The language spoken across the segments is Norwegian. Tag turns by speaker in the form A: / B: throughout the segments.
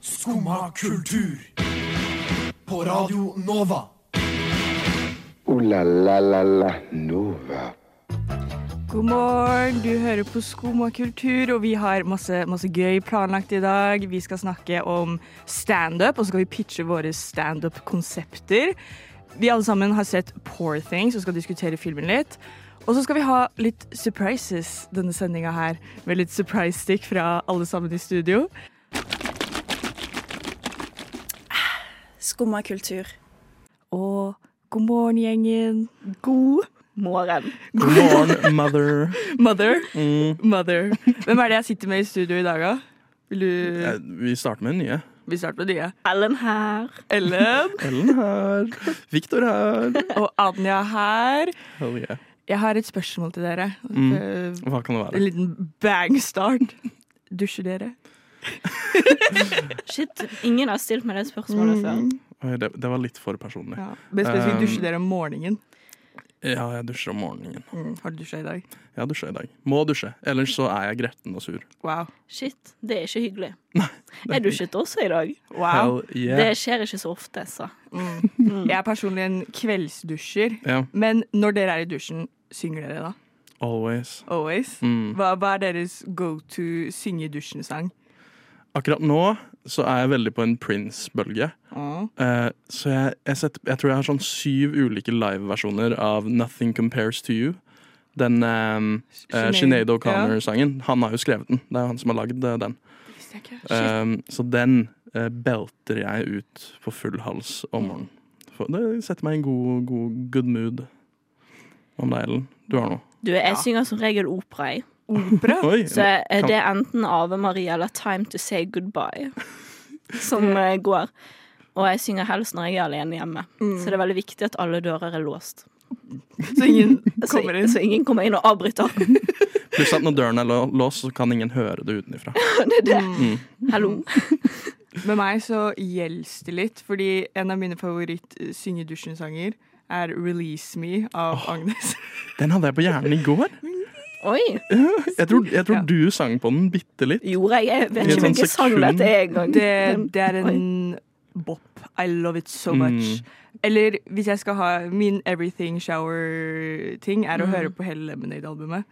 A: Skumma kultur. På Radio Nova.
B: Ooh la la la la Nova.
C: God morgen, du hører på Skum og kultur, og vi har masse, masse gøy planlagt i dag. Vi skal snakke om standup, og så skal vi pitche våre standup-konsepter. Vi alle sammen har sett Poor Things og skal diskutere filmen litt. Og så skal vi ha litt surprises denne sendinga her, med litt surprise stick fra alle sammen i studio.
D: Skumma kultur.
C: Og god morgen, gjengen. God morgen.
E: God morgen, mother.
C: Mother.
E: Mm.
C: Mother. Hvem er det jeg sitter med i studio i dag, da? Vil du
E: Eh, Vi starter med en nye.
C: Vi starter med nye.
D: Ellen her.
C: Ellen
E: Ellen her. Victor her.
C: og Anja her.
E: Hell yeah.
C: Jeg har et spørsmål til dere.
E: Mm.
C: Eh,
E: Hva kan det
C: En
E: være?
C: liten bangstart. Dusjer dere?
D: Shit, ingen har stilt meg det spørsmålet før.
C: Mm.
E: Oi, Det, det var litt for personlig.
C: Ja. Men spesifikt,
E: Um,
C: dusjer dere om morgenen? Mm,
E: Ja, jeg dusjer om morgenen.
C: Har du dusja i dag?
E: Jeg dusjer i dag. Må dusje. Ellers så er jeg gretten og sur.
C: Wow.
D: Shit, det er ikke hyggelig.
E: Det
D: Jeg dusjet også i dag.
C: wow.
E: Hell
D: Det
E: yeah.
D: skjer ikke så ofte, altså. så.
C: Jeg er personlig en kveldsdusjer.
E: Ja,
C: Men når dere er i dusjen, synger dere da?
E: always.
C: Always?
E: Mm.
C: Hva, hva er deres go to synge i dusjen-sang?
E: Akkurat nå så er jeg veldig på en Prince-bølge.
C: Åh.
E: Eh, så jeg, jeg, setter, jeg tror jeg har sånn syv ulike liveversjoner av Nothing Compares to You. Den um,
C: Sinead,
E: Sinead
C: ja.
E: O'Connor-sangen. Han har jo skrevet den. Det er jo han som har lagd eh, den.
C: Visste jeg ikke.
E: Um, så den eh, belter jeg ut på full hals om morgenen. For det setter meg i en god, god good mood. Hva med deg, Ellen? Du har noe?
D: Du, jeg synger som regel opera, jeg.
C: Opera?
E: Oi!
D: Så eh, det er enten Ave Maria eller Time to Say Goodbye som eh, går. Og jeg synger helst når jeg er alene hjemme.
C: Mm.
D: Så det er veldig viktig at alle dører er låst.
C: Så ingen
D: Så,
C: kommer inn?
D: så ingen kommer inn og avbryter.
E: Pluss at når døren er lå- låst, så kan ingen høre det utenfra.
D: Det er det.
C: Mm.
D: Hallo.
C: Med meg så gjelder det litt, fordi en av mine favoritt-synge-dusjen-sanger er 'Release Me' av Agnes.
E: Den hadde jeg på hjernen i går.
D: Oi.
E: Jeg tror, jeg tror
C: Ja.
E: du sang på den bitte litt.
D: Gjorde jeg? Jeg vet
E: I et
D: ikke
E: sånt
D: hvilken sang
E: sekund.
D: dette er engang.
C: Det, det er en bop. I love it so much.
E: Mm.
C: Eller hvis jeg skal ha min Everything Shower-ting, er å høre på hele Lemonade-albumet.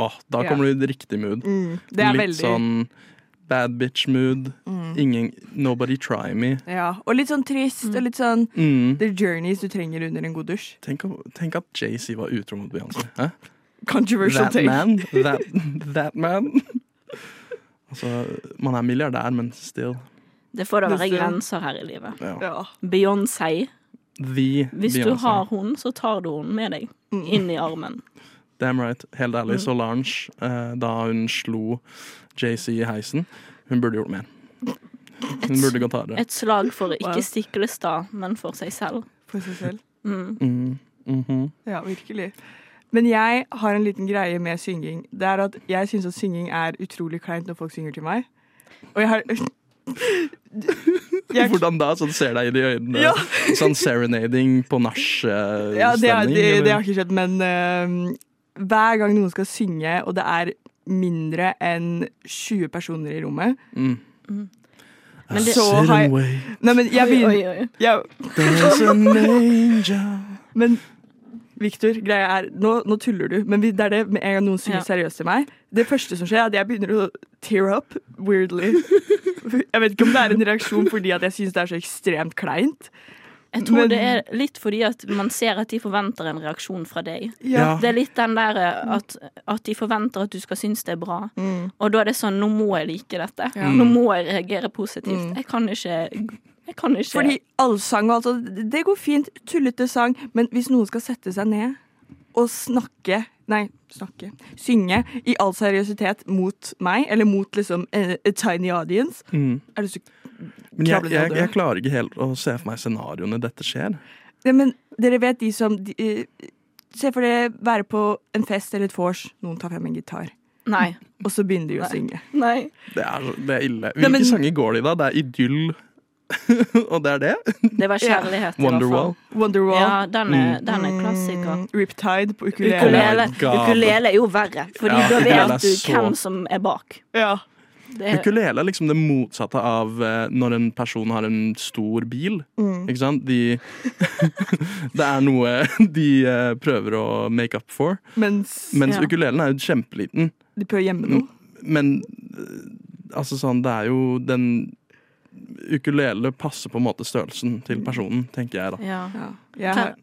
E: Åh, da
C: Ja. Mm,
E: kommer du i riktig mood.
C: Det er
E: litt
C: veldig Mm.
E: sånn bad bitch-mood. Ingen Nobody try me.
C: ja, Og litt sånn trist, og litt sånn
E: Mm.
C: The journeys du trenger under en god dusj.
E: Tenk, å- tenk at Jay-Z var utro mot Beyoncé. Hæ?
C: Controversial
E: That
C: take.
E: man. That, that man. Altså, man er milliardær, men still.
D: Det får da være
C: Det ser-
D: grenser her i livet.
E: Ja.
C: Ja.
D: Beyoncé.
E: The
D: Hvis du
E: Beyoncé.
D: har hun, så tar du hun med deg inn i armen.
E: Damn right. Helt
C: Mm.
E: ærlig, Solange, eh, da hun slo Jay-Z i heisen, hun burde gjort mer. Hun burde gått hardere.
D: Et slag for
C: Wow.
D: ikke Stiklestad, men for seg selv.
C: For seg selv.
E: Mm. Mhm.
C: Ja, virkelig. Men jeg har en liten greie med synging. Det er at jeg syns at synging er utrolig kleint når folk synger til meg. Og jeg har jeg,
E: Hvordan da? Sånn ser deg i de øynene.
C: Ja.
E: Sånn serenading på nachstemning.
C: Ja, det, er, det, det har ikke skjedd, men øhm, hver gang noen skal synge, og det er mindre enn 20 personer i rommet
D: Men det,
C: Så har jeg Nei, men jeg
D: oi, oi,
C: begynner
D: oi.
C: jeg,
E: There's an angel
C: Men Victor, greia er Nå, nå tuller du, men vi- det er det med en gang noen synger
D: Ja.
C: seriøst til meg. Det første som skjer, er at jeg begynner å tear up weirdly. Jeg vet ikke om det er en reaksjon fordi at jeg syns det er så ekstremt kleint.
D: Jeg tror
C: Men-
D: det er litt fordi at man ser at de forventer en reaksjon fra deg.
E: Ja.
D: Det er litt den der eh, at, at de forventer at du skal synes det er bra. Og da er det sånn Nå må jeg like dette. Nå må jeg reagere positivt. Jeg kan ikke Jeg kan ikke
C: Fordi allsang og alt sånt, det går fint. Tullete sang. Men hvis noen skal sette seg ned og snakke Nei, snakke. Synge i all seriøsitet mot meg, eller mot liksom eh, a tiny audience. Er det så
E: Mm. Men jeg,
C: Kravlet
E: jeg,
C: nedover.
E: jeg klarer ikke helt å se for meg scenarioene dette skjer.
C: Nei, men dere vet de som de, eh, Se for dere være på en fest eller et vors. Noen tar frem en gitar,
D: Nei.
C: og så begynner de å synge.
D: Nei.
E: Det er, så- det er ille.
C: Nei,
E: Hvilke
C: men-
E: sanger går det i, da? Det er idyll, og det er det?
D: Det var
C: Ja.
D: kjærlighet, i hvert fall.
E: Wonderwall.
C: Wonderwall.
D: Ja, den er, den er klassiker.
C: Mm, Riptide på ukulele.
E: Ukulele.
D: Ukulele,
E: God.
D: ukulele er jo verre, Fordi
E: Ja,
D: da
E: ukulele er
D: vet du
E: så-
D: hvem som er bak.
C: Ja.
D: Det er,
E: Ukulele er liksom det motsatte av eh, når en person har en stor bil.
C: Mm.
E: Ikke sant? De, det er noe de eh, prøver å make up for.
C: Mens
E: Mens Mm.
D: Ja.
E: ukulelen er jo kjempeliten.
C: de prøver å gjemme noe.
E: Men eh, altså sånn, det er jo den Ukulele passer på en måte størrelsen til personen, tenker jeg da.
D: ja.
C: Ja. Jeg har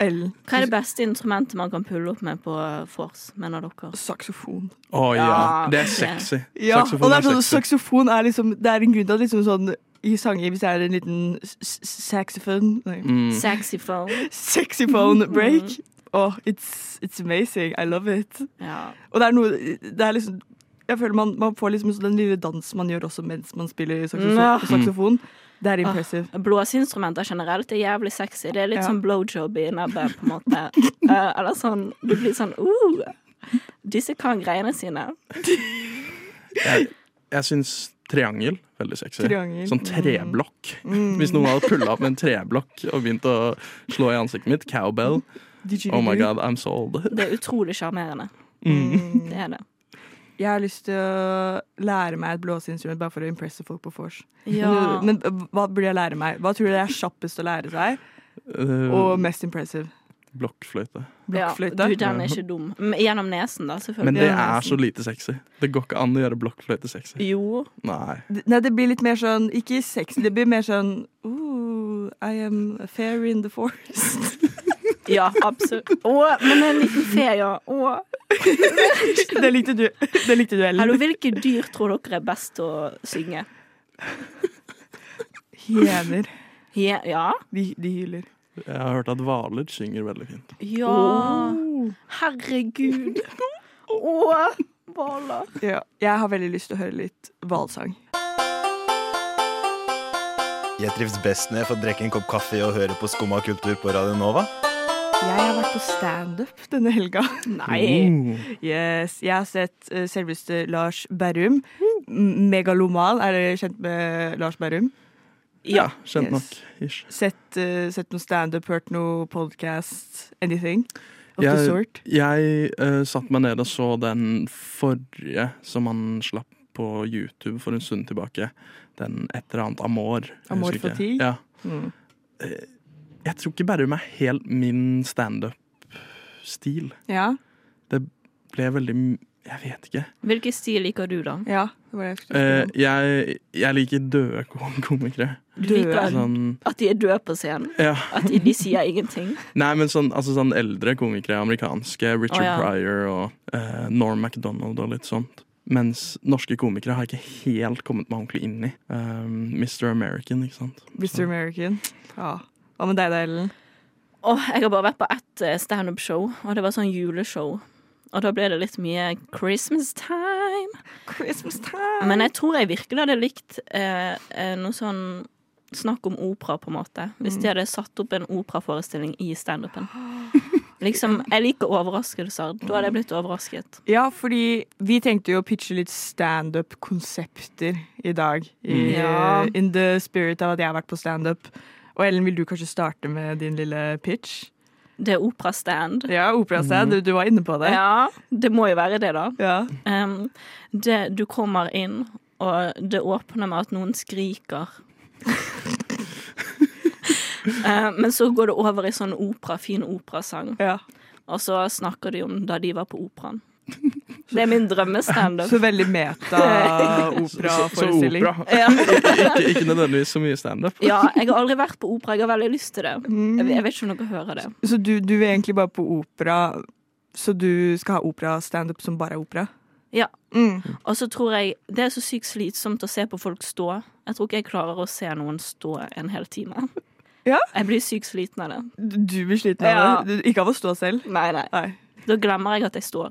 C: Ellen.
D: Hva er det beste instrumentet man kan pulle opp med på vors, mener dere?
C: Saksofon.
E: Å ja,
D: Ja,
E: det er
D: det-
E: sexy.
C: Ja, og
E: Saksofon
C: det er sånn,
E: sexy.
C: saksofon er liksom Det er en grunn til at liksom sånn i sanger Hvis det er en liten s- s- saxophone nei,
E: Mm.
D: Saxophone.
C: Saxophone break
D: Mm.
C: Åh, it's, it's amazing, I love it
D: Ja.
C: Og det er noe Det er liksom Jeg føler man, man får liksom den lille dansen man gjør også Mens man spiller
D: Ja.
C: saksofon, saksofon.
E: Mm.
C: Det
E: Ah.
C: er impressive
D: Blåseinstrumenter generelt er jævlig sexy. Det er litt
C: Ja.
D: sånn blowjob i nebbet, på en måte. Eh, eller sånn Du blir sånn uh, Disse kan greiene sine.
E: Jeg, jeg syns triangel veldig sexy.
C: Triangel,
E: Sånn treblokk. Hvis noen hadde pulla opp med en treblokk og begynt å slå i ansiktet mitt, cowbell Oh my god, I'm sold.
D: Det er utrolig sjarmerende.
E: Mm.
D: Det er det.
C: Jeg har lyst til å lære meg et blåseinstrument Bare for å impresse folk på fors
D: Ja.
C: Men øh, hva burde jeg lære meg? Hva tror du det er kjappest å lære seg?
E: Eh,
C: Og mest impressive?
E: Blokkfløyte.
C: Blokkfløyte?
D: Ja, du, den er ikke dum. Men Gjennom nesen, da,
E: Men
D: selvfølgelig.
E: det er så lite sexy. Det går ikke an å gjøre blokkfløyte sexy.
D: Jo.
E: Nei.
C: Nei, det blir litt mer sånn Ikke sex, det blir mer sånn Ooh, I am a fair in the forest.
D: Ja, absolutt. Å, men en liten fe, ja. Å.
C: det likte du, det likte du Ellen.
D: Hallo, hvilke dyr tror dere er best å synge?
C: Hyener.
D: Ja. Ja.
C: De, de hyler.
E: Jeg har hørt at hvaler synger veldig fint.
D: ja. Oh. Herregud. Å, hvaler.
C: Ja. Jeg har veldig lyst til å høre litt hvalsang.
F: Jeg trives best når jeg får drikke en kopp kaffe og høre på Skumma kultur på Radio Nova.
C: Jeg har vært på standup denne helga.
D: Nei.
C: Yes. Jeg har sett eh, selveste Lars Berrum. M- Megaloman, er dere kjent med Lars Berrum?
E: Ja, kjent nok.
C: Yes.
E: Ish.
C: Sett, eh, sett noe standup, hørt noe podcast, anything of the
E: Jeg,
C: sort?
E: jeg eh, satt meg ned og så den forrige som han slapp på YouTube for en stund tilbake. Den et eller annet Amor. Jeg husker
C: Amor Mm.
E: ikke.
C: Fati?
E: Ja. Eh, Jeg tror ikke Berrum er helt min standup-stil.
C: Ja.
E: Det ble veldig m- Jeg vet ikke.
D: Hvilken stil liker du, da?
C: ja. Det var det jeg skulle
E: Eh,
C: spørre om.
E: jeg, jeg liker døde kom- komikere.
D: Du liker
E: Sånn,
D: at de er døde på scenen?
E: ja.
D: At de, de sier ingenting?
E: Nei, men sånn, altså, sånn eldre komikere. Amerikanske. Richard
D: Å, ja.
E: Pryor og eh, Norm MacDonald og litt sånt. Mens norske komikere har ikke helt kommet meg ordentlig inn i. Eh, Mr. American, ikke sant.
C: Mr. American. Ja. Hva med deg da, Ellen?
D: Åh, jeg har bare vært på ett eh, standup-show, og det var sånn juleshow. Og da ble det litt mye Christmas time.
C: Christmas time!
D: Men jeg tror jeg virkelig hadde likt eh, eh, noe sånn snakk om opera, på en måte. Hvis de hadde satt opp en operaforestilling i standupen. Liksom, jeg liker overraskelser. Da hadde jeg blitt overrasket.
C: Ja, fordi vi tenkte jo å pitche litt standup-konsepter i dag. I,
E: Mm.
C: eh,
D: Ja.
C: In the spirit av at jeg har vært på standup. Og Ellen, vil du kanskje starte med din lille pitch?
D: Det er operastand.
C: Ja,
E: Mm.
C: operasted. Du, du var inne på det.
D: Ja, det må jo være det, da.
C: Ja.
D: Um, det, du kommer inn, og det åpner med at noen skriker. Eh, Men så går det over i sånn opera, fin operasang,
C: Ja.
D: og så snakker de om da de var på operaen. Det er min drømmestandup.
C: Så veldig
E: Så
C: meta-operaforestilling.
E: opera. ikke, ikke nødvendigvis så mye standup.
D: Ja, jeg har aldri vært på opera. Jeg har veldig lyst til det.
C: Mm.
D: Jeg, jeg vet ikke om dere hører det.
C: Så du, du er egentlig bare på opera, så du skal ha opera-standup som bare er opera?
D: Ja.
C: Mm.
D: Og så tror jeg det er så sykt slitsomt å se på folk stå. Jeg tror ikke jeg klarer å se noen stå en hel time.
C: Ja?
D: Jeg blir sykt sliten av det.
C: Du blir sliten av det? Du- Ikke av å stå selv?
D: Nei, nei.
C: Nei.
D: Da glemmer jeg at jeg står.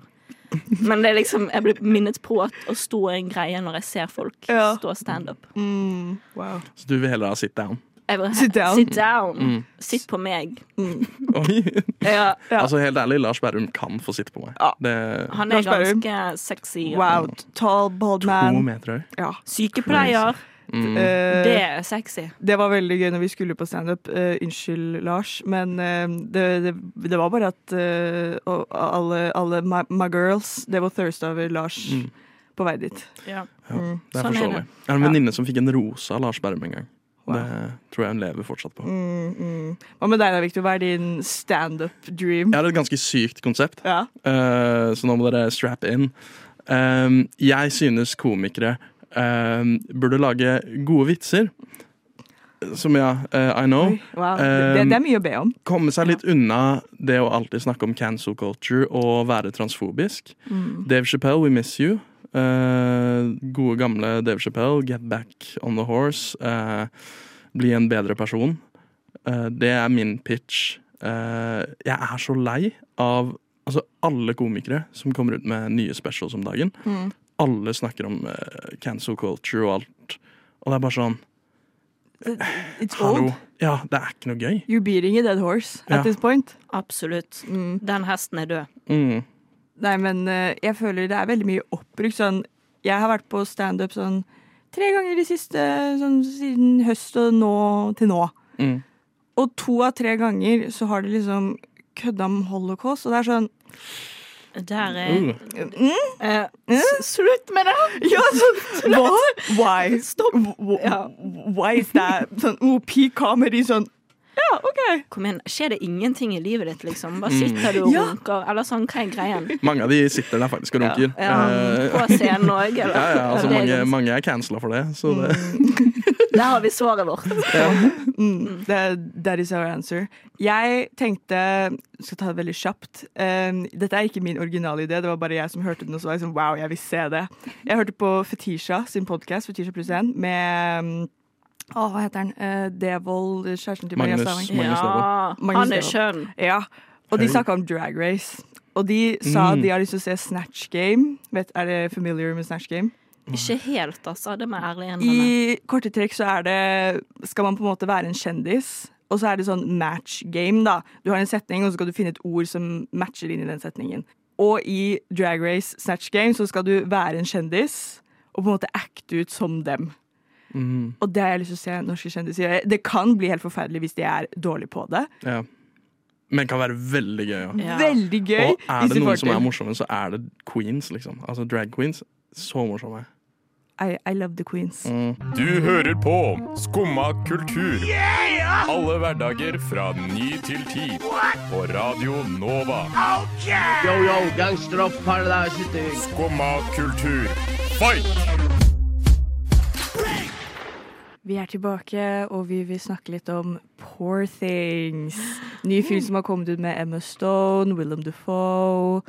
D: Men det er liksom, jeg blir minnet på at å stå er en greie når jeg ser folk
C: Ja.
D: stå standup.
C: Mm. Wow.
E: Så du vil heller ha sit down.
D: Jeg vil-
C: Sit down.
D: Sit down. Sitt på meg.
E: Oi.
D: Ja,
C: Ja.
E: Altså, helt ærlig, Lars Berrum kan få sitte på meg.
C: Ja.
E: Det
D: han er
C: Lars Berrum.
D: ganske sexy.
C: Wow. Tall, bald
E: To
C: man.
E: meter høy. Mm.
C: Ja.
D: Sykepleier.
C: Eh,
D: Det er sexy.
C: Det var veldig gøy når vi skulle på standup. Uh, unnskyld, Lars, men eh, det, det, det var
E: Mm.
C: bare at eh, og alle, alle my, my girls Det var thirst over Lars på vei dit. Mm.
D: Ja.
E: Det er
D: Sånn er
E: forståelig.
D: det.
E: Jeg har en venninne som fikk en rose av Lars Berrum en gang.
C: Wow.
E: Det tror jeg hun lever fortsatt på.
C: Mm, Hva med deg da, Victor? Hva er din standup-dream?
E: Jeg har et ganske sykt konsept,
C: Ja.
E: eh, så nå må dere strap in. Um, jeg synes komikere um, burde lage gode vitser, som ja, eh, I know.
C: Oi, Wow. Det,
E: Um,
C: det er mye å be om.
E: Komme seg litt unna det å alltid snakke om cancel culture og være transfobisk. Dave Chappelle, we miss you. Eh, gode gamle Dave Chappelle, get back on the horse. Eh, bli en bedre person. Eh, det er min pitch. Eh, jeg er så lei av altså, alle komikere som kommer ut med nye specials om dagen. Alle snakker om eh, cancel culture og alt. Og det er bare sånn
C: It's
E: Hallo.
C: old.
E: Ja, det er ikke noe gøy.
C: You're beating a dead horse
E: Ja.
C: at this point. Mm.
D: Absolutt. Den hesten er død.
E: Mm.
C: Nei, men eh, jeg føler det er veldig mye oppbruk. Sånn, jeg har vært på standup sånn tre ganger de siste sånn, siden høst og nå til nå.
E: Mm.
C: Og to av tre ganger så har de liksom kødda om holocaust, og det er sånn mm?
D: Der er
E: Uh.
D: eh, s- Slutt med det!
C: Ja, sånn, hva? Why? Stopp.
D: Ja.
C: Why is that? Sånn OP-comedy, sånn Ja, OK.
D: Kom igjen, Skjer det ingenting i livet ditt, liksom?
E: Mm.
D: Bare sitter du og
C: Ja.
D: runker? Eller sånn, hva er greien?
E: Mange av de sitter der faktisk og runker.
D: Ja,
E: Eh,
D: på scenen òg, eller?
E: ja, ja, altså
D: Det er
E: mange,
D: ganske-
E: mange er cancela for det. Så det
D: Der har vi svaret vårt.
C: Mm, det- that is our answer. Jeg tenkte Skal ta det veldig kjapt. Um, dette er ikke min originale idé, det var bare jeg som hørte den. Og så var jeg sånn, wow, jeg vil se det. Jeg hørte på Fetisha sin podkast, Fetisha pluss én, med um, Å, hva heter han? Eh, Devold, kjæresten til Maria
E: Magnus-
C: Stavang.
E: Magnus
D: Ja,
C: Devold.
D: han er
C: Magnus
D: skjønn.
C: Ja, og de snakka om drag race. Og de sa de har lyst til å se Snatch Game. Vet, er det familiar med Snatch Game?
D: Ikke helt, altså. Det må jeg ærlig
E: sånn,
D: innrømme.
C: I korte trekk så er det Skal man på en måte være en kjendis? Og så er det sånn match game, da. Du har en setning, og så skal du finne et ord som matcher inn i den setningen. Og i Drag Race Snatch Game så skal du være en kjendis og på en måte acte ut som dem.
E: Mhm.
C: Og det har jeg lyst til å se norske kjendiser gjøre. Det kan bli helt forferdelig hvis de er dårlige på det.
E: ja. Men kan være veldig gøy. Ja.
D: Ja.
C: Veldig gøy.
E: Og er
C: hvis
E: det
C: de får
E: noen som
C: til.
E: er morsomme, så er det queens, liksom. Altså drag queens. Så morsomme.
C: I, I love the queens.
G: Du hører på Skumma kultur. Alle hverdager fra ny til ti. På Radio Nova.
H: Yo, yo, gangsteropp, paradise.
G: Skumma kultur. Fight!
C: Vi er tilbake, og vi vil snakke litt om Poor Things. Ny film som har kommet ut med Emma Stone, Willem Dafoe,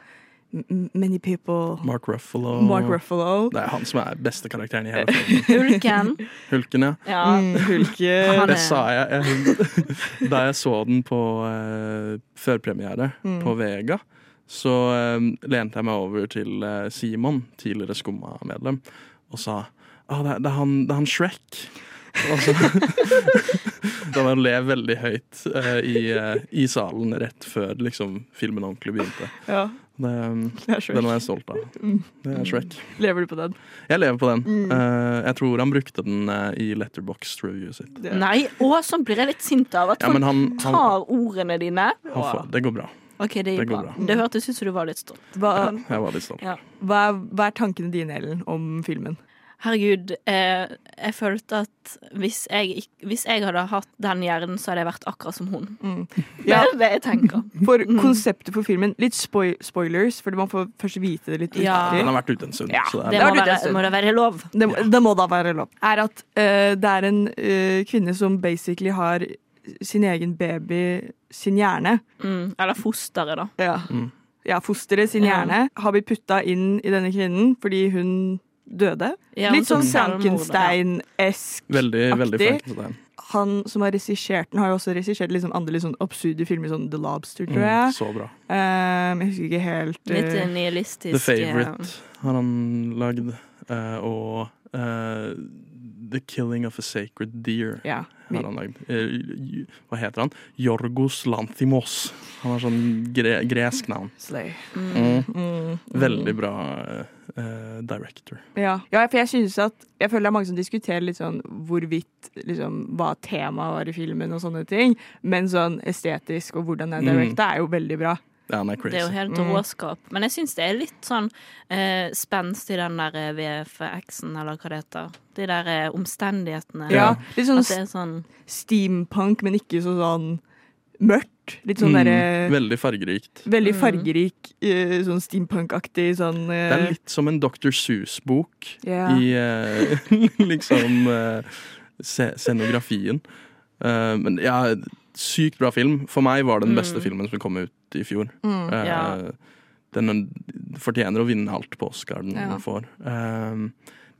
C: m- m- Many People,
E: Mark Ruffalo.
C: Mark Ruffalo,
E: Det er han som er beste karakteren i hele filmen.
D: Hulken.
E: Hulken, ja.
D: Ja.
E: Mm.
C: Hulke.
D: Han
E: Eh, Det
D: er-
E: sa jeg, jeg da jeg så den på eh, førpremiere
D: Mm.
E: på Vega. Så eh, lente jeg meg over til eh, Simon, tidligere Skumma-medlem, og sa ah, det, er, det, er han, det er han Shrek. Og så Da var han le veldig høyt eh, i, eh, i salen rett før liksom, filmen ordentlig begynte.
C: Ja,
E: Det, eh,
C: det er
E: den
C: Shrek.
E: var jeg stolt av.
D: Mm.
E: Det er Shrek.
C: Lever du på den?
E: Jeg lever på den. Eh, jeg tror han brukte den eh, i letterbox-reviewet sitt.
D: Nei, og sånn blir jeg litt sint av at
E: Ja, men
D: folk
E: han, han,
D: tar ordene dine.
E: han får, Det går bra.
D: OK, det
E: Det
D: gikk
E: går
D: bra.
E: bra.
D: Det hørtes ut som du var litt stolt.
C: Hva,
E: Jeg var litt stolt.
D: Ja.
C: hva, er- hva er tankene dine, Ellen, om filmen?
D: Mm-hmm. Herregud, eh, jeg følte at hvis jeg, ikk- hvis jeg hadde hatt den hjernen, så hadde jeg vært akkurat som hun.
C: Mm. Ja.
D: Det er det jeg tenker.
C: For konseptet for filmen, litt spoil spoilers, for man får først vite det litt
D: Ja.
E: Den
C: riktig.
E: har vært ute en stund.
C: Ja,
E: så
D: Det
E: det er,
C: var
D: må,
C: du Mm.
D: være,
C: dessuten.
D: må da være lov.
C: Det, det må da være lov. Er at eh, det er en eh, kvinne som basically har sin egen baby, sin hjerne.
D: Mm. Eller fosteret, da.
C: Ja.
E: Mm.
C: ja, fosteret sin
D: Ja.
C: hjerne har blitt putta inn i denne kvinnen fordi hun døde.
D: Ja,
C: Litt
D: hun
C: sånn
D: tok selvmord,
C: Sankenstein-esk.
E: veldig, veldig
C: Aktig.
E: Frankenstein.
C: Han som har regissert den, har jo også regissert liksom andre litt sånn absurde filmer, sånn The Lobster, tror
E: Mm,
C: jeg.
E: så bra.
C: Ehm, jeg husker ikke helt
D: Litt
C: eh,
D: nihilistisk.
E: The
D: eh,
E: Favourite har han lagd. eh, og eh, The Killing of a Sacred Deer
C: ja,
E: har han lagd. Eh, hva heter han? Jorgos Lanthimos. Han har sånn gre gresk navn. Mm.
C: Slay. Mm.
E: Veldig bra eh, director.
C: Ja. ja, for jeg synes at Jeg føler det er mange som diskuterer litt sånn hvorvidt liksom, Hva temaet var i filmen og sånne ting. Men sånn estetisk og hvordan det er
E: Mm.
C: direkte, er jo veldig bra.
E: Ja, han er
D: Det er jo
E: crazy.
D: helt
C: Mm.
D: råskap. Men jeg syns det er litt sånn eh, spenst i den der eh, VFX-en, eller hva det heter. De der eh, omstendighetene.
C: Ja, litt sånn
D: At det er sånn
C: steampunk, men ikke så sånn mørkt. Litt sånn
E: Mm,
C: derre
E: veldig fargerikt.
C: Veldig
D: Mm.
C: fargerik, eh, sånn steampunk-aktig sånn
E: Det er
C: eh,
E: litt som en Dr. Seuss-bok
C: Ja.
E: i eh, liksom eh, se scenografien. Eh, men ja, sykt bra film. For meg var det den beste filmen som kom ut i fjor. Eh,
D: ja.
E: Den fortjener å vinne alt på Oscar den
C: Ja.
E: får. Eh,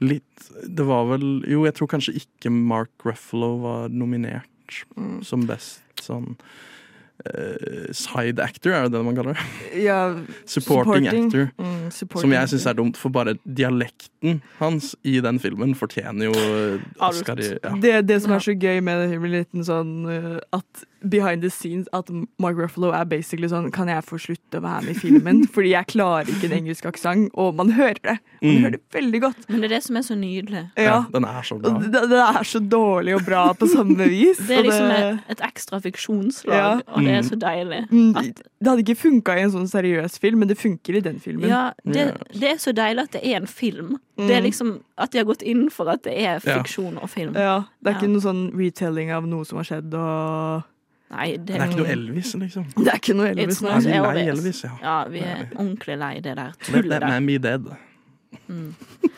E: litt Det var vel Jo, jeg tror kanskje ikke Mark Ruffalo var nominert
C: Mm.
E: som best sånn eh, Side actor, er det det man kaller det?
C: ja,
E: Supporting, actor.
C: Mm,
E: Som
C: supporting
E: jeg syns er dumt, for bare dialekten hans i den filmen fortjener jo eh,
D: Alt.
E: Oscar. i- Ja.
C: Det, det som er så gøy med den filmen, liten sånn eh, at behind the scenes at Mark Ruffalo er basically sånn Kan jeg få slutte å være med i filmen? Fordi jeg klarer ikke en engelsk aksent. Og man hører det. Man hører det veldig godt.
D: Men det er det som er så nydelig.
C: Ja.
E: Mm. ja, den er så bra.
C: Og det, det er så dårlig og bra på samme vis.
D: Det er
C: og
D: liksom et, et ekstra fiksjonslag,
C: Ja.
D: og det er så deilig.
C: Mm,
D: At,
C: Det hadde ikke funka i en sånn seriøs film, men det funker i den filmen.
D: ja, det, det er så deilig at det er en film. Det
C: Mm.
D: er liksom At de har gått inn for at det er
E: Ja.
D: fiksjon og film.
C: Ja, det er ikke
D: Ja.
C: noe sånn retelling av noe som har skjedd, og
D: Nei, det,
E: Det er ikke noe Elvis, liksom.
C: Det er ikke noe Elvis
D: It's
C: nå.
D: not
E: Er vi lei
D: Elvis.
E: Elvis, ja.
D: Ja, vi er ordentlig lei det der
E: Let
D: tullet
E: that
D: der.
E: man be dead.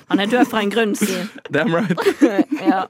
D: Han er død for en grunn, si.
E: Damn right.
D: Ja.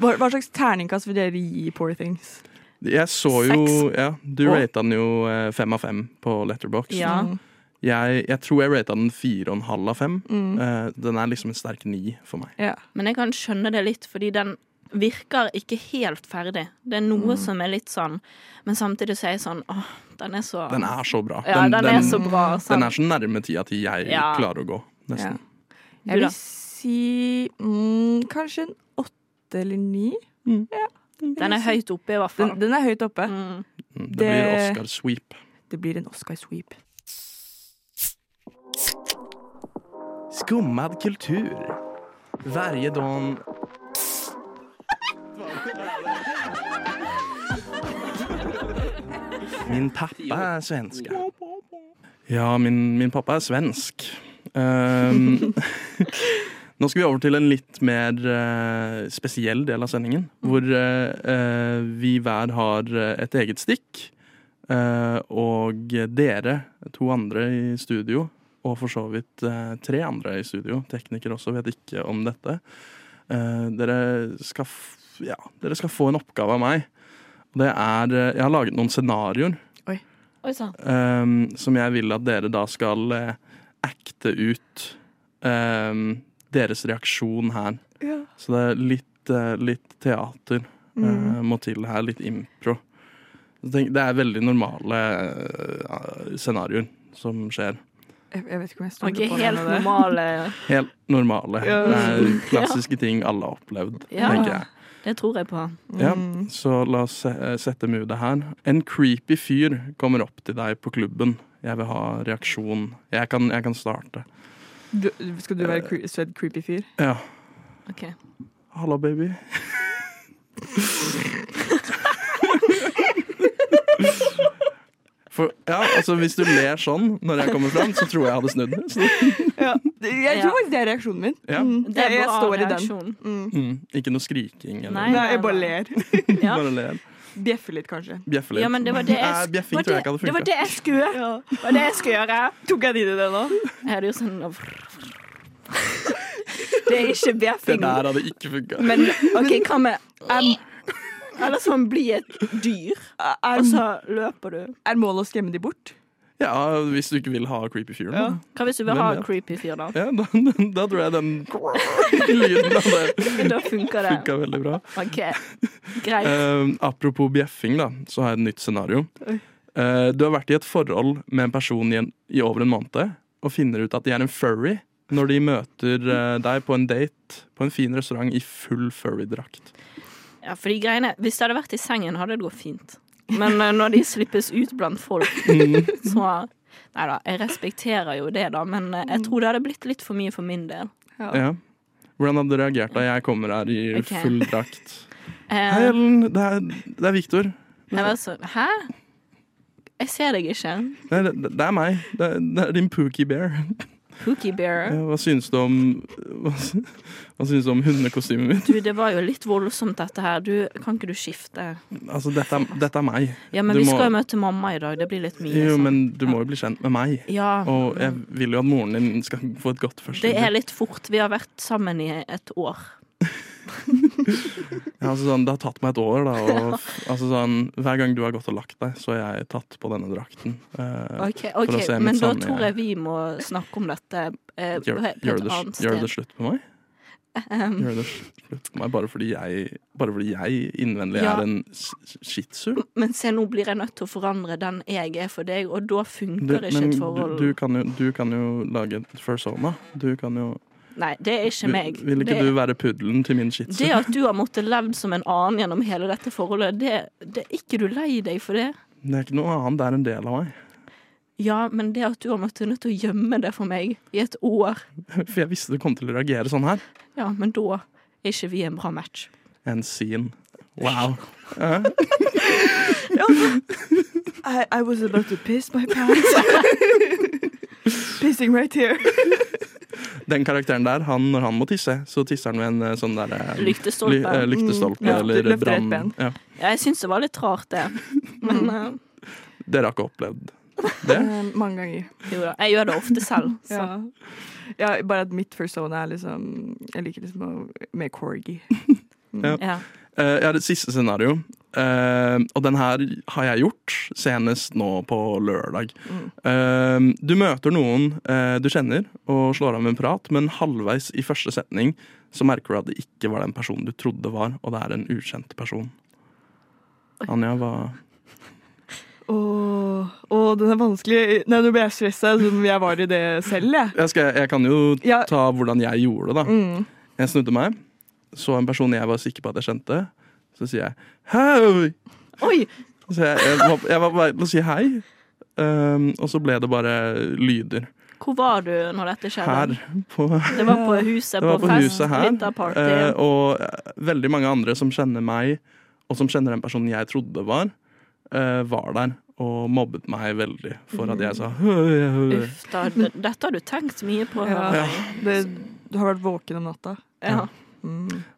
C: Hva, hva slags terningkast vil dere gi Poor Things?
E: Jeg så jo ja, Du rata den jo eh, fem av fem på Letterbox.
D: ja.
C: Mm,
E: Jeg, jeg tror jeg rata den fire og en halv av fem. Eh, den er liksom en sterk ni for meg.
C: Ja.
D: Men jeg kan skjønne det litt, fordi den virker ikke helt ferdig. Det er
E: Mm.
D: noe som er litt sånn, men samtidig så er jeg sånn åh, den er så
E: Den er så bra.
D: Ja, den, er så bra.
E: den
D: Sant?
E: er så nærme tida til jeg
D: Ja.
E: klarer å gå, nesten.
D: Du
C: Jeg
D: da?
C: vil si mm, kanskje en åtte eller ni.
D: Den er høyt oppe, i hvert fall.
C: Den, den er høyt oppe.
E: Mm, Det, blir
C: Det-
E: Oscar sweep.
C: Det blir en Oscar sweep.
E: Skummad kultur. Varje dag Min pappa er svensk. Ja, min, min pappa er svensk. Ehm, nå skal vi over til en litt mer eh, spesiell del av sendingen. Hvor eh, eh, vi hver har eh, et eget stikk. Eh, og dere, to andre i studio, og for så vidt eh, tre andre i studio, teknikere også, vet ikke om dette. Eh, dere, skal f ja, dere skal få en oppgave av meg. Og Det er eh, Jeg har laget noen scenarioer
D: Oi sann.
E: ehm, som jeg vil at dere da skal eh, acte ut ehm, deres reaksjon her.
C: Ja.
E: Så det er litt, eh, litt teater eh, må til her, litt impro. Så tenk, det er veldig normale eh, scenarioer som skjer.
C: Jeg, jeg vet ikke om jeg
D: Og
C: stoler
D: ikke
C: på
D: helt eh,
C: den. eller-
D: normale
E: Helt normale.
C: Ja.
E: Det er klassiske ting alle har opplevd,
D: Ja. Mm.
E: tenker jeg.
D: Det tror jeg på.
E: Ja, så la oss se- eh, sette moodet her. En creepy fyr kommer opp til deg på klubben. Jeg vil ha reaksjon. Jeg kan, jeg kan starte.
C: Du, skal du være cre svedd creepy fyr?
E: Ja.
D: Ok.
E: Halla, baby. For, ja, altså Hvis du ler sånn når jeg kommer fram, så tror jeg jeg hadde snudd. Så,
C: Ja. Jeg tror faktisk det er reaksjonen min. Mm.
E: ja.
D: Det er
C: jeg
D: bra
C: står i den.
D: reaksjon.
E: mm, ikke noe skriking eller
D: Nei.
C: Nei, jeg bare ler.
D: Ja.
E: bare ler.
C: Bjeffer litt, kanskje.
E: Bjeffe litt.
D: ja, men det var det jeg,
E: Nei,
D: sk-
E: Bjeffing
D: var
E: tror jeg
D: det,
E: ikke hadde
D: det, var
E: funka.
D: det jeg skulle gjøre. Det var det jeg skulle gjøre.
C: Tok jeg det i det nå?
D: Jeg hadde gjort sånn Det er ikke
E: Det
D: bjeffing.
E: der hadde ikke funka.
D: Men OK, hva med em, Eller sånn bli et dyr, og
C: Er,
D: så løper du.
C: er målet å skremme de bort?
E: Ja, hvis du ikke vil ha creepy fyren. da.
D: Hva hvis du vil
E: Hvem
D: ha
E: vet?
D: en creepy fyr, da?
E: Ja, da, da, da tror jeg den lyden av det
D: Da funker det.
E: funka veldig bra.
D: OK, greit.
E: Eh, apropos bjeffing, da, så har jeg et nytt scenario. Eh, du har vært i et forhold med en person i, en, i over en måned og finner ut at de er en furry når de møter eh, deg på en date på en fin restaurant i full furry-drakt.
D: Ja, for de greiene, Hvis det hadde vært i sengen, hadde det gått fint. Men eh, når de slippes ut blant folk,
E: Mm.
D: så Nei da, jeg respekterer jo det, da, men eh, jeg tror det hadde blitt litt for mye for min del.
E: Ja. Hvordan hadde du reagert da jeg kommer her i
D: Ok.
E: full drakt?
D: Eh,
E: Hei, Ellen. Det er, det er Victor.
D: jeg var sånn Hæ? Jeg ser deg ikke.
E: Nei, det, det er meg. Det, det er din Pookie Bear.
D: Pookie
E: Ja,
D: bear.
E: Hva syns du om Hva, sy- hva syns du om hundekostymet mitt?
D: Du, det var jo litt voldsomt, dette her. Du, kan ikke du skifte?
E: Altså, dette, er- dette er meg.
D: Ja, men
E: Du
D: vi
E: må-
D: skal jo møte mamma i dag. Det blir litt mye.
E: Jo,
D: sånn.
E: men du må jo bli kjent med meg.
D: Ja.
E: Og jeg vil jo at moren din skal få et godt
D: Det er
E: førsteinntrykk.
D: litt fort. Vi har vært sammen i et år.
E: Ja, altså, sånn, det har tatt meg et år, da. Og, altså, sånn, hver gang du har gått og lagt deg, så har jeg tatt på denne drakten. Eh,
D: Ok,
E: For å
D: ok,
E: se mitt
D: Men da
E: sanne
D: tror
E: jeg. sånn,
D: jeg vi må snakke om dette eh, på
E: Gjør,
D: et på
E: gjør,
D: et
E: det,
D: annet
E: gjør det
D: sted.
E: slutt på meg?
D: Um,
E: Gjør det slutt på meg bare fordi jeg, bare fordi jeg innvendig
D: Ja.
E: er en s- shih tzu?
D: men se, nå blir jeg nødt til å forandre den jeg er for deg, og da
E: Du,
D: funker ikke
E: men
D: et
E: du,
D: forhold.
E: du, kan jo, du kan jo lage et fursona. Du kan jo
D: Nei, det er ikke meg.
E: Vil vil ikke
D: det,
E: du være puddelen til min shih tzu?
D: det at du har måttet levd som en annen gjennom hele dette forholdet, det, det er ikke du lei deg for det.
E: Det er ikke noe annet, det er en del av meg.
D: Ja, men det at du har måttet nødt til å gjemme det for meg i et år,
E: For jeg visste du kom til å reagere sånn her.
D: ja, men da er ikke vi en bra match.
E: En scene. Wow.
C: I, I was about to piss my pants. Pissing right here.
E: Den karakteren der, han, når han må tisse, så tisser han med en eh, sånn der eh,
D: Lyktestolpe.
E: ly- eh, lyktestolpe
C: Mm, ja, du
E: eller
C: løfter et
E: brann.
C: ben.
E: Ja.
D: Ja, jeg syns det var litt rart, det. Men eh,
E: Dere har ikke opplevd det?
C: Eh, mange ganger.
D: jo da. Jeg gjør det ofte selv. Så.
C: Ja. ja, bare at mitt persona er liksom Jeg liker liksom å mer corgi. Mm.
D: Ja.
E: Eh, Jeg har et siste scenario. Eh, og den her har jeg gjort senest nå på lørdag. Eh, du møter noen eh, du kjenner og slår av med en prat, men halvveis i første setning så merker du at det ikke var den personen du trodde det var, og det er en ukjent person. Anja, hva
C: Åh, åh, den er vanskelig. Nei, nå ble jeg stressa, som jeg var i det selv, jeg.
E: jeg, skal, jeg kan jo
C: Ja. Mm.
E: ta hvordan jeg gjorde det, da. Jeg snudde meg, så en person jeg var sikker på at jeg kjente. Så sier jeg 'hei'.
D: Oi!
E: Så jeg, jeg, var, jeg var på vei til å si hei, ehm, og så ble det bare lyder
D: Hvor var du når dette
E: her.
D: skjedde?
E: På, det
D: Det var på huset
E: var
D: på,
E: på
D: fest.
E: huset her.
D: Vinterparty.
E: eh, og eh, veldig mange andre som kjenner meg, og som kjenner den personen jeg trodde det var, eh, var der og mobbet meg veldig for at jeg sa «Høy, høy, høy».
D: Uff da. d- Dette har du tenkt mye på. hører
C: Ja.
D: jeg.
C: Det, du har vært våken om natta.
D: Ja.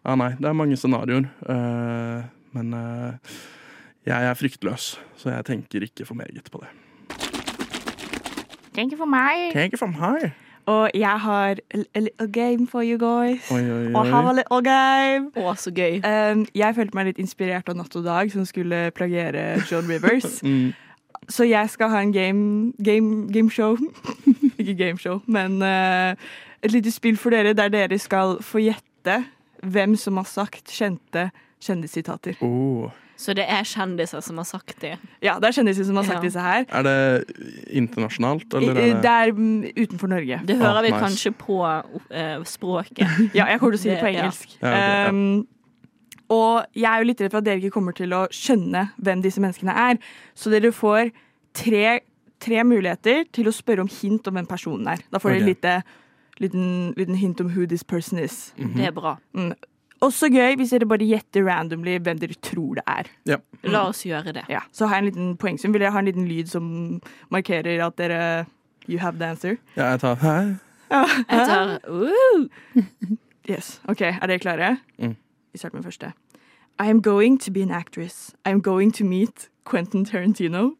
E: Ja, nei, det er mange scenarioer. eh, men eh, jeg er fryktløs, så jeg tenker ikke for meget på det.
C: Thank you for meg.
E: Tenker for meg.
C: Og jeg har a, a little game for you guys.
E: Oi, oi,
C: Og have a
E: oi.
C: little game.
D: Å, så gøy.
C: Um, jeg følte meg litt inspirert av Natt og Dag, som skulle plagiere John Rivers. Så jeg skal ha en game, game, gameshow. Ikke gameshow, men eh, et lite spill for dere der dere skal få gjette hvem som har sagt kjente kjendissitater.
E: Oh.
D: Så det er kjendiser som har sagt det.
C: Ja, det er kjendiser som har sagt
D: Ja.
C: disse her.
E: Er det internasjonalt, eller
C: I-
E: er
C: Det er mm, utenfor Norge.
D: Det hører
E: Ah,
D: vi
E: nice.
D: kanskje på eh, språket.
C: Ja, jeg kommer til å si det på
D: Det- ja.
C: engelsk.
E: Ja, ok, ja.
C: Um, og jeg er jo litt redd for at dere ikke kommer til å skjønne hvem disse menneskene er. Så dere får tre, tre muligheter til å spørre om hint om hvem personen er. Da får dere
E: Ok.
C: lite, liten, liten hint om who this person is.
D: Det er bra.
C: Også gøy hvis dere bare gjetter randomly hvem dere tror det er.
E: Ja.
D: La oss gjøre det.
C: Ja, så har jeg en liten poengsum. Vil dere ha en liten lyd som markerer at dere You have the answer?
E: ja, jeg tar Hæ?
D: Jeg tar Woo!
C: Yes. Ok, er dere klare?
E: Mm.
C: Vi starter med første. I am going to be an actress. I am going to meet Quentin Tarantino.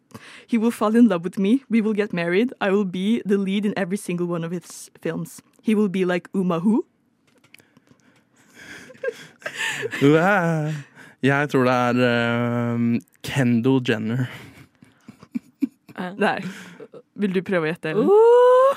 C: He will fall in love with me. We will get married. I will be the lead in every single one of his films. He will be like Uma Hu.
E: Uæ. Jeg tror det er ehm, Kendall Jenner.
D: Eh,
C: Nei. Vil du prøve å gjette? Ellen?
D: Woo! uh.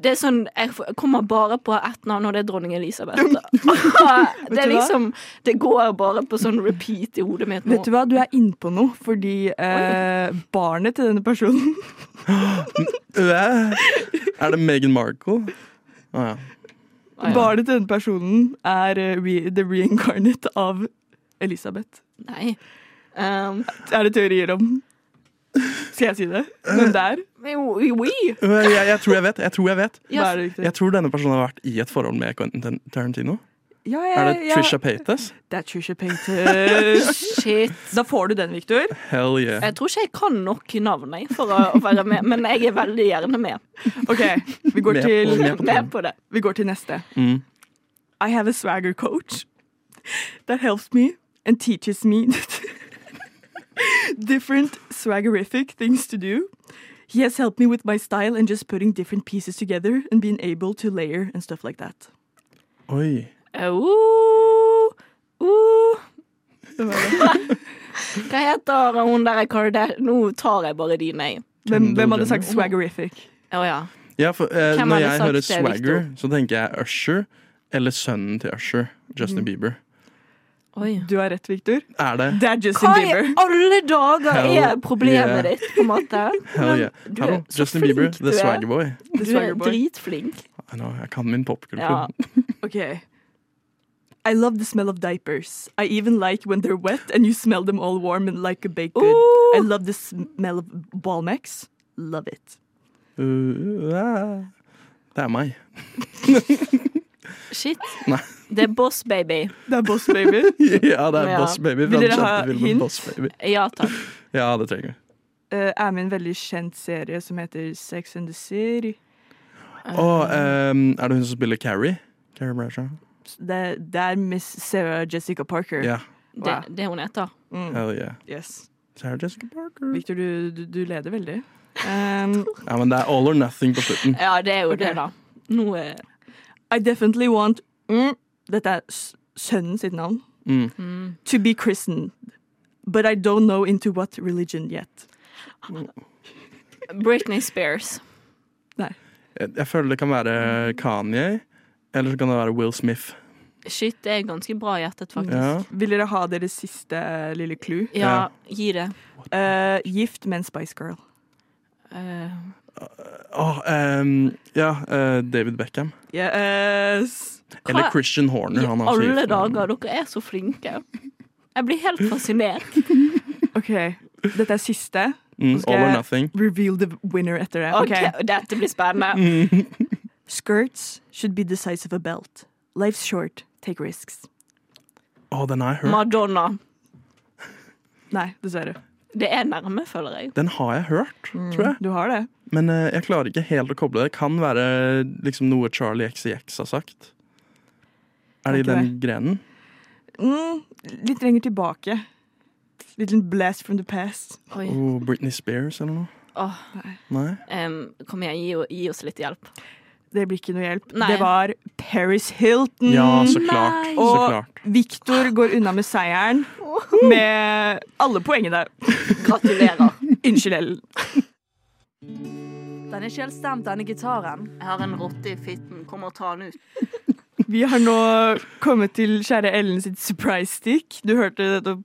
D: Det er sånn, Jeg f- kommer bare på ett navn, og det er dronning Elisabeth. Det er
C: du hva?
D: liksom, det går bare på sånn repeat i hodet mitt nå.
C: Vet du hva, du er inne på noe, fordi eh, barnet til denne personen
E: Uæ. Er det Meghan Markle? Å ja.
D: Ah, ja.
C: Barnet til denne personen er eh, re the reincarnate av Elisabeth.
D: Nei. Um,
C: Er det teorier om Skal jeg si det? Hvem det er?
D: jo, jo, jo.
E: Uæ, Jeg, jeg tror jeg vet. Jeg tror jeg vet
C: Hva er det riktig?
D: Eh,
E: Jeg tror denne personen har vært i et forhold med Quentin Tar- Tarantino.
C: Ja, jeg,
E: Er det Trisha Paytas?
C: Det er Trisha Paytas.
D: Shit.
C: da får du den, Victor.
E: Hell yeah.
D: Jeg tror ikke jeg kan nok navn jeg, for å, å være med, men jeg er veldig gjerne med.
C: OK, vi går
E: Med på-
C: til
E: med på den.
D: Med på det.
C: Vi går til neste.
E: Mm.
C: I have a swagger coach that helps me and teaches me different swaggerific things to do. He has helped me with my style and just putting different pieces together and being able to layer and stuff like that.
E: Oi.
D: Uh, uh. Hva heter hun der Kardashian? Nå tar jeg bare dine, jeg.
C: Hvem,
E: Kendall
C: hvem hadde sagt
E: Jenner.
C: swaggerific?
D: Å ja.
E: Ja, for eh,
D: Hvem
E: Når
D: hadde
E: jeg
D: sagt
E: hører
D: det,
E: Swagger, så tenker jeg Usher eller sønnen til Usher,
D: Mm.
E: Justin Bieber.
D: Oi.
C: Du har rett, Victor.
E: Er det?
C: Det er Justin
D: Hva i
C: Bieber.
D: alle dager er
E: Hell yeah.
D: problemet ditt, på en måte?
E: Hell yeah.
D: du er
E: Hallo,
D: så
E: Justin
D: flink
E: Bieber,
D: du
E: the
D: er.
E: swagger boy.
D: Du er
C: Swagger boy.
D: dritflink.
E: I know, jeg kan min popkultur.
D: Ja.
C: Okay. I love the smell of diapers. I even like when they're wet and you smell them all warm and like a baked good.
D: Ooh.
C: I love the smell of Balmex. Love it.
E: Uh, ah. det er meg.
D: Shit.
E: Nei.
D: Det er boss baby.
C: Det er boss, baby.
E: ja, det er
D: Ja.
E: Boss Baby.
C: Vil
E: fra den
C: dere ha
E: kjente filmen
C: hint?
E: Boss Baby.
D: Ja takk.
E: Ja, det trenger vi.
C: Eh, er med i en veldig kjent serie som heter Sex and the City. Eh.
E: Og ehm, er det hun som spiller Carrie? Carrie Bradshaw?
C: Det, det er Miss Sarah Jessica Parker.
E: Ja.
D: Det,
C: Wow.
D: det hun heter.
E: Hell yeah.
C: Yes.
E: Sarah Jessica Parker.
C: Victor, du, du, du leder veldig. Um,
E: Ja, men det er all or nothing på slutten.
D: Ja, det er jo
C: Ok.
D: det, da. Nå er
C: I definitely want mm, Dette er s- sønnen sitt navn.
E: Mm.
C: To be christened. But I don't know into what religion yet.
D: Britney Spears.
E: Jeg, jeg føler det kan være Kanye, eller så kan det være Will Smith.
D: Shit, det er ganske bra gjettet,
E: Ja.
D: faktisk.
C: Vil dere ha deres siste eh, lille clue?
D: Ja,
E: Ja.
D: gi det.
C: Eh, gift med en Spice Girl.
D: Eh,
E: Åh, ehm, ja, eh, David Beckham.
C: Yes!
E: Eller
D: Hva-
E: Christian Horner.
D: I
E: Han er også
D: alle
E: gift med han.
D: dager, dere er så flinke. Jeg blir helt fascinert.
C: OK, dette er siste.
E: Mm,
C: Skal
E: all or
C: jeg-
E: nothing.
C: Reveal the winner etter det.
D: Ok,
C: Ok.
D: Dette blir spennende.
C: Skirts should be the size of a belt. Life's short. Take risks.
E: Åh, den har jeg hørt.
D: Madonna.
C: Nei, dessverre.
D: Det er nærme, føler jeg.
E: Den har jeg hørt,
C: Mm.
E: tror jeg.
C: Du har det.
E: Men eh, jeg klarer ikke helt å koble det. Det kan være liksom noe Charlie XCX har sagt. Er det i
C: Kan ikke
E: den grenen?
C: Mm, litt lenger tilbake. Little blast from the past.
D: Oi.
E: Oh, Britney Spears eller noe?
D: Åh,
E: Nei?
D: em, kom igjen, gi, gi oss litt hjelp.
C: Det blir ikke noe hjelp.
D: Nei.
C: Det var Paris Hilton.
E: Ja, så klart. Så klart.
C: Mm, Og Victor går unna med seieren med alle poengene.
D: Gratulerer.
C: Unnskyld, Ellen.
I: Den er ikke helt stemt, denne gitaren.
D: Jeg har en rotte i fitten. Kom og ta den ut.
C: Vi har nå kommet til kjære Ellen sitt surprise stick. Du hørte nettopp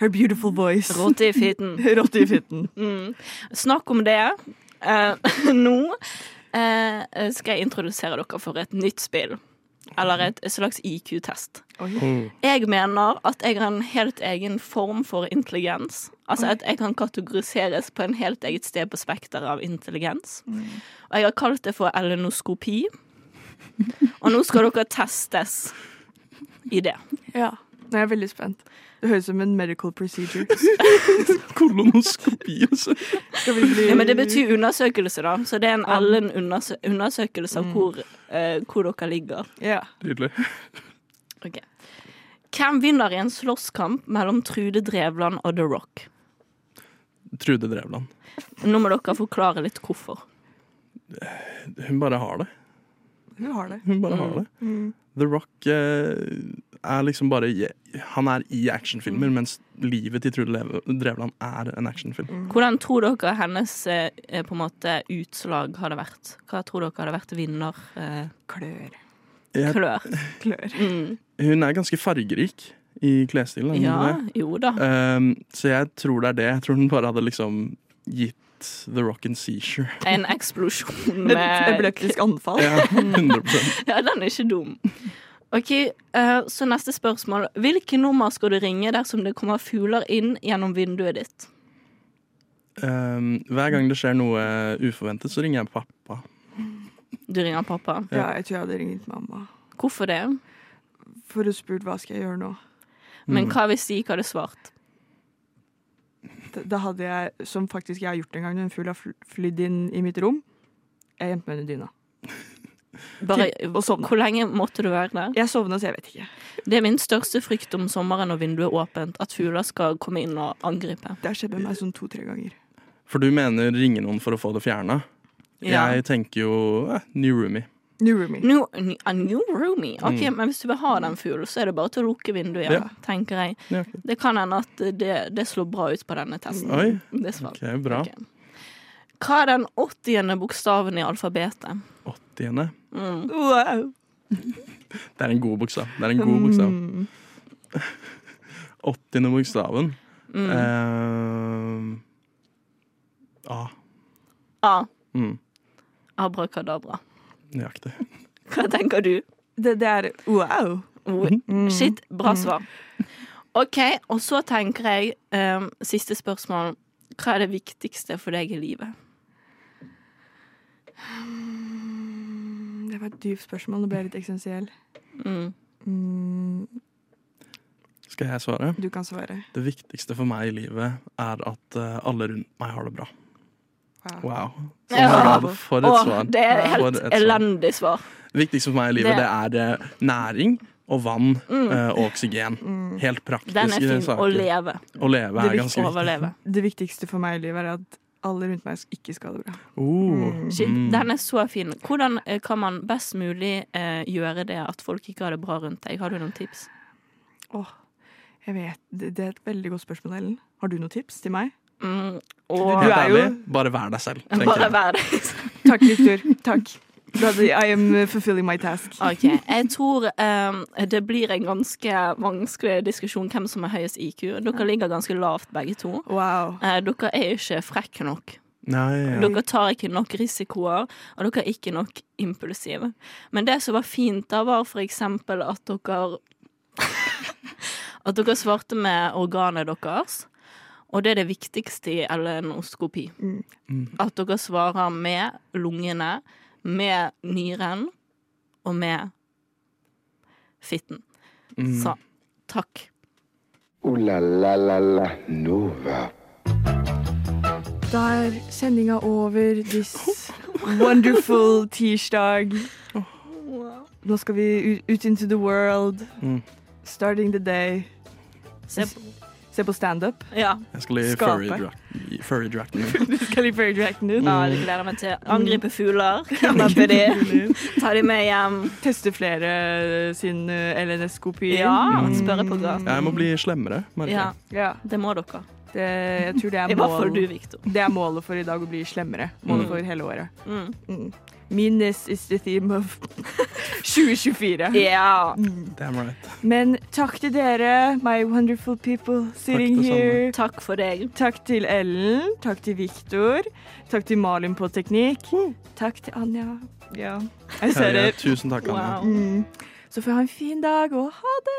C: her beautiful voice.
D: Rotte i fitten.
C: Rotte i fitten.
D: Mm. Snakk om det. Eh, nå eh, skal jeg introdusere dere for et nytt spill. Eller et slags IQ-test. Jeg mener at jeg har en helt egen form for intelligens. Altså at jeg kan kategoriseres på en helt eget sted på spekteret av intelligens. Og jeg har kalt det for elenoskopi. Og nå skal dere testes i det.
C: Ja. Nå er jeg veldig spent. Det høres ut som en medical procedure.
E: Kolonoskopi, altså.
C: Skal vi bli
D: Ja, men det betyr undersøkelse, da. Så det er en Ellen-undersøkelse av hvor, eh, hvor dere ligger.
C: Ja.
E: Nydelig.
D: Ok. Hvem vinner i en slåsskamp mellom Trude Drevland og The Rock?
E: Trude Drevland.
D: Nå må dere forklare litt hvorfor.
E: Hun bare har det.
C: Hun har det.
E: Hun bare har det. The Rock eh, er liksom bare i, Han er i actionfilmer, mens livet til Trude Leve- Drevland er en actionfilm.
D: Hvordan tror dere hennes eh, på en måte utslag hadde vært? Hva tror dere hadde vært vinner? Eh,
C: Klør.
E: Jeg,
D: klør.
C: Klør.
D: Mm.
E: hun er ganske fargerik i klesstilen. er hun
D: Ja,
E: ikke det?
D: jo da.
E: Um, så jeg tror det er det. Jeg tror den bare hadde liksom gitt The Rock and Seizure.
D: En eksplosjon
C: Et
D: med
C: epileptisk anfall.
E: Ja, 100
D: Ja, den er ikke dum. Ok, eh, Så neste spørsmål. Hvilke nummer skal du ringe dersom det kommer fugler inn gjennom vinduet ditt?
E: um, Hver gang det skjer noe uforventet, så ringer jeg pappa.
D: Du ringer pappa.
C: Ja, jeg tror jeg hadde ringt mamma.
D: Hvorfor det?
C: For du spurte hva skal jeg gjøre nå.
D: Men hva hvis de ikke hadde svart?
C: Da- Da hadde jeg, som faktisk jeg har gjort en gang, når en fugl har fl- flydd inn i mitt rom. Jeg gjemte meg under dyna.
D: Bare,
C: Og sovna.
D: hvor lenge måtte du være der?
C: Jeg sovna, så jeg vet ikke.
D: Det er min største frykt om sommeren når vinduet er åpent, at fugler skal komme inn og angripe.
C: Det har skjedd med meg sånn to-tre ganger.
E: For du mener ringe noen for å få det fjerna? Jeg tenker jo eh, new roomie.
C: New roomie.
D: New, a new roomie. Ok, Men hvis du vil ha den fuglen, så er det bare til å lukke vinduet igjen,
E: Mm. Ja.
D: tenker jeg.
E: Ja, ok.
D: Det kan hende at det, det slår bra ut på denne testen.
E: Oi.
D: Dessverre.
E: Ok, bra.
D: Ok. Hva er den åttiende bokstaven i alfabetet?
E: Åttiende.
C: Wow.
E: Det er en god bokstav. Det er en god bokstav. Åttiende bokstaven. Eh, A.
D: A.
E: Mm.
D: Abrakadabra.
E: Nøyaktig.
D: Hva tenker du?
C: Det, det er wow.
D: Oi, Shit, bra svar. OK, og så tenker jeg ehm, Siste spørsmål. Hva er det viktigste for deg i livet?
C: Det var et dypt spørsmål. Nå ble jeg litt eksistensiell.
D: Mm.
C: Mm,
E: Skal jeg svare?
C: du kan svare.
E: Det viktigste for meg i livet er at eh, alle rundt meg har det bra.
C: Wow.
E: Wow.
D: Ja.
E: Bravo. For et
D: Å,
E: svar.
D: det er
E: For
D: helt
E: et svar.
D: elendig svar.
E: Det viktigste for meg i livet det, er eh, næring og vann eh, og oksygen. Helt praktiske
D: Mm. Den er fin. Å
E: saker.
D: leve.
E: Å leve
D: Du
E: er
D: vil
E: ganske viktig.
D: overleve.
C: Det viktigste for meg i livet er at alle rundt meg ikke skal ha det bra.
E: Oh.
D: Shit, den er så fin. Hvordan eh, kan man best mulig eh, gjøre det at folk ikke har det bra rundt deg? Har du noen tips?
C: Åh, jeg vet. Det, det er et veldig godt spørsmål, Ellen. Har du noen tips til meg?
D: Mm,
C: Du
D: og
E: Helt
C: er jo-
E: ærlig, bare vær deg selv. tenker
D: bare
E: jeg.
D: vær deg.
C: Takk, Victor. Takk. Da- I am uh, fulfilling my task.
D: OK. Jeg tror eh, det blir en ganske vanskelig diskusjon hvem som har høyest IQ. Dere ligger ganske lavt, begge to.
C: Wow.
D: Eh, dere er ikke frekke nok.
E: Nei, ja.
D: Dere tar ikke nok risikoer, og dere er ikke nok impulsive. Men det som var fint da, var for eksempel at dere At dere svarte med organet deres. Og det er det viktigste i LNOskopi. At dere svarer med lungene, med nyren og med fitten. Så takk.
B: Ooh la la la la Nova.
C: Da er sendinga over this wonderful tirsdag. Nå skal vi u- ut into the world.
E: Mm.
C: Starting the day.
D: Se,
C: Se på standup.
D: ja.
E: Jeg skal i
C: Skape.
E: furry dra- i furry drakten.
C: Skal jeg føre drakten ut?
D: ja, det gleder jeg meg til. Angripe fugler, kidnappe de, ta de med hjem.
C: Teste flere eh, sin LNS-kopi.
D: Ja, spørre på gaten.
E: Jeg må bli slemmere, merker
D: Ja,
E: jeg.
C: Mm. ja.
D: det må dere.
C: Det, jeg tror det er
D: I hvert fall
C: mål.
D: du, Victor.
C: Det er målet for i dag, å bli slemmere. Målet for hele året.
D: Mm.
C: Mm. Meanness is the theme of 2024.
D: Ja.
E: Damn right.
C: Men takk til dere, my wonderful people sitting
E: det samme.
C: here.
D: Takk for deg.
C: Takk til Ellen, takk til Viktor, takk til Malin på teknikk.
D: Mm.
C: Takk til Anja. Ja, jeg ser
E: Herre,
C: det.
E: tusen takk, Anne.
D: Wow.
C: Mm. Så får jeg ha en fin dag, og ha det!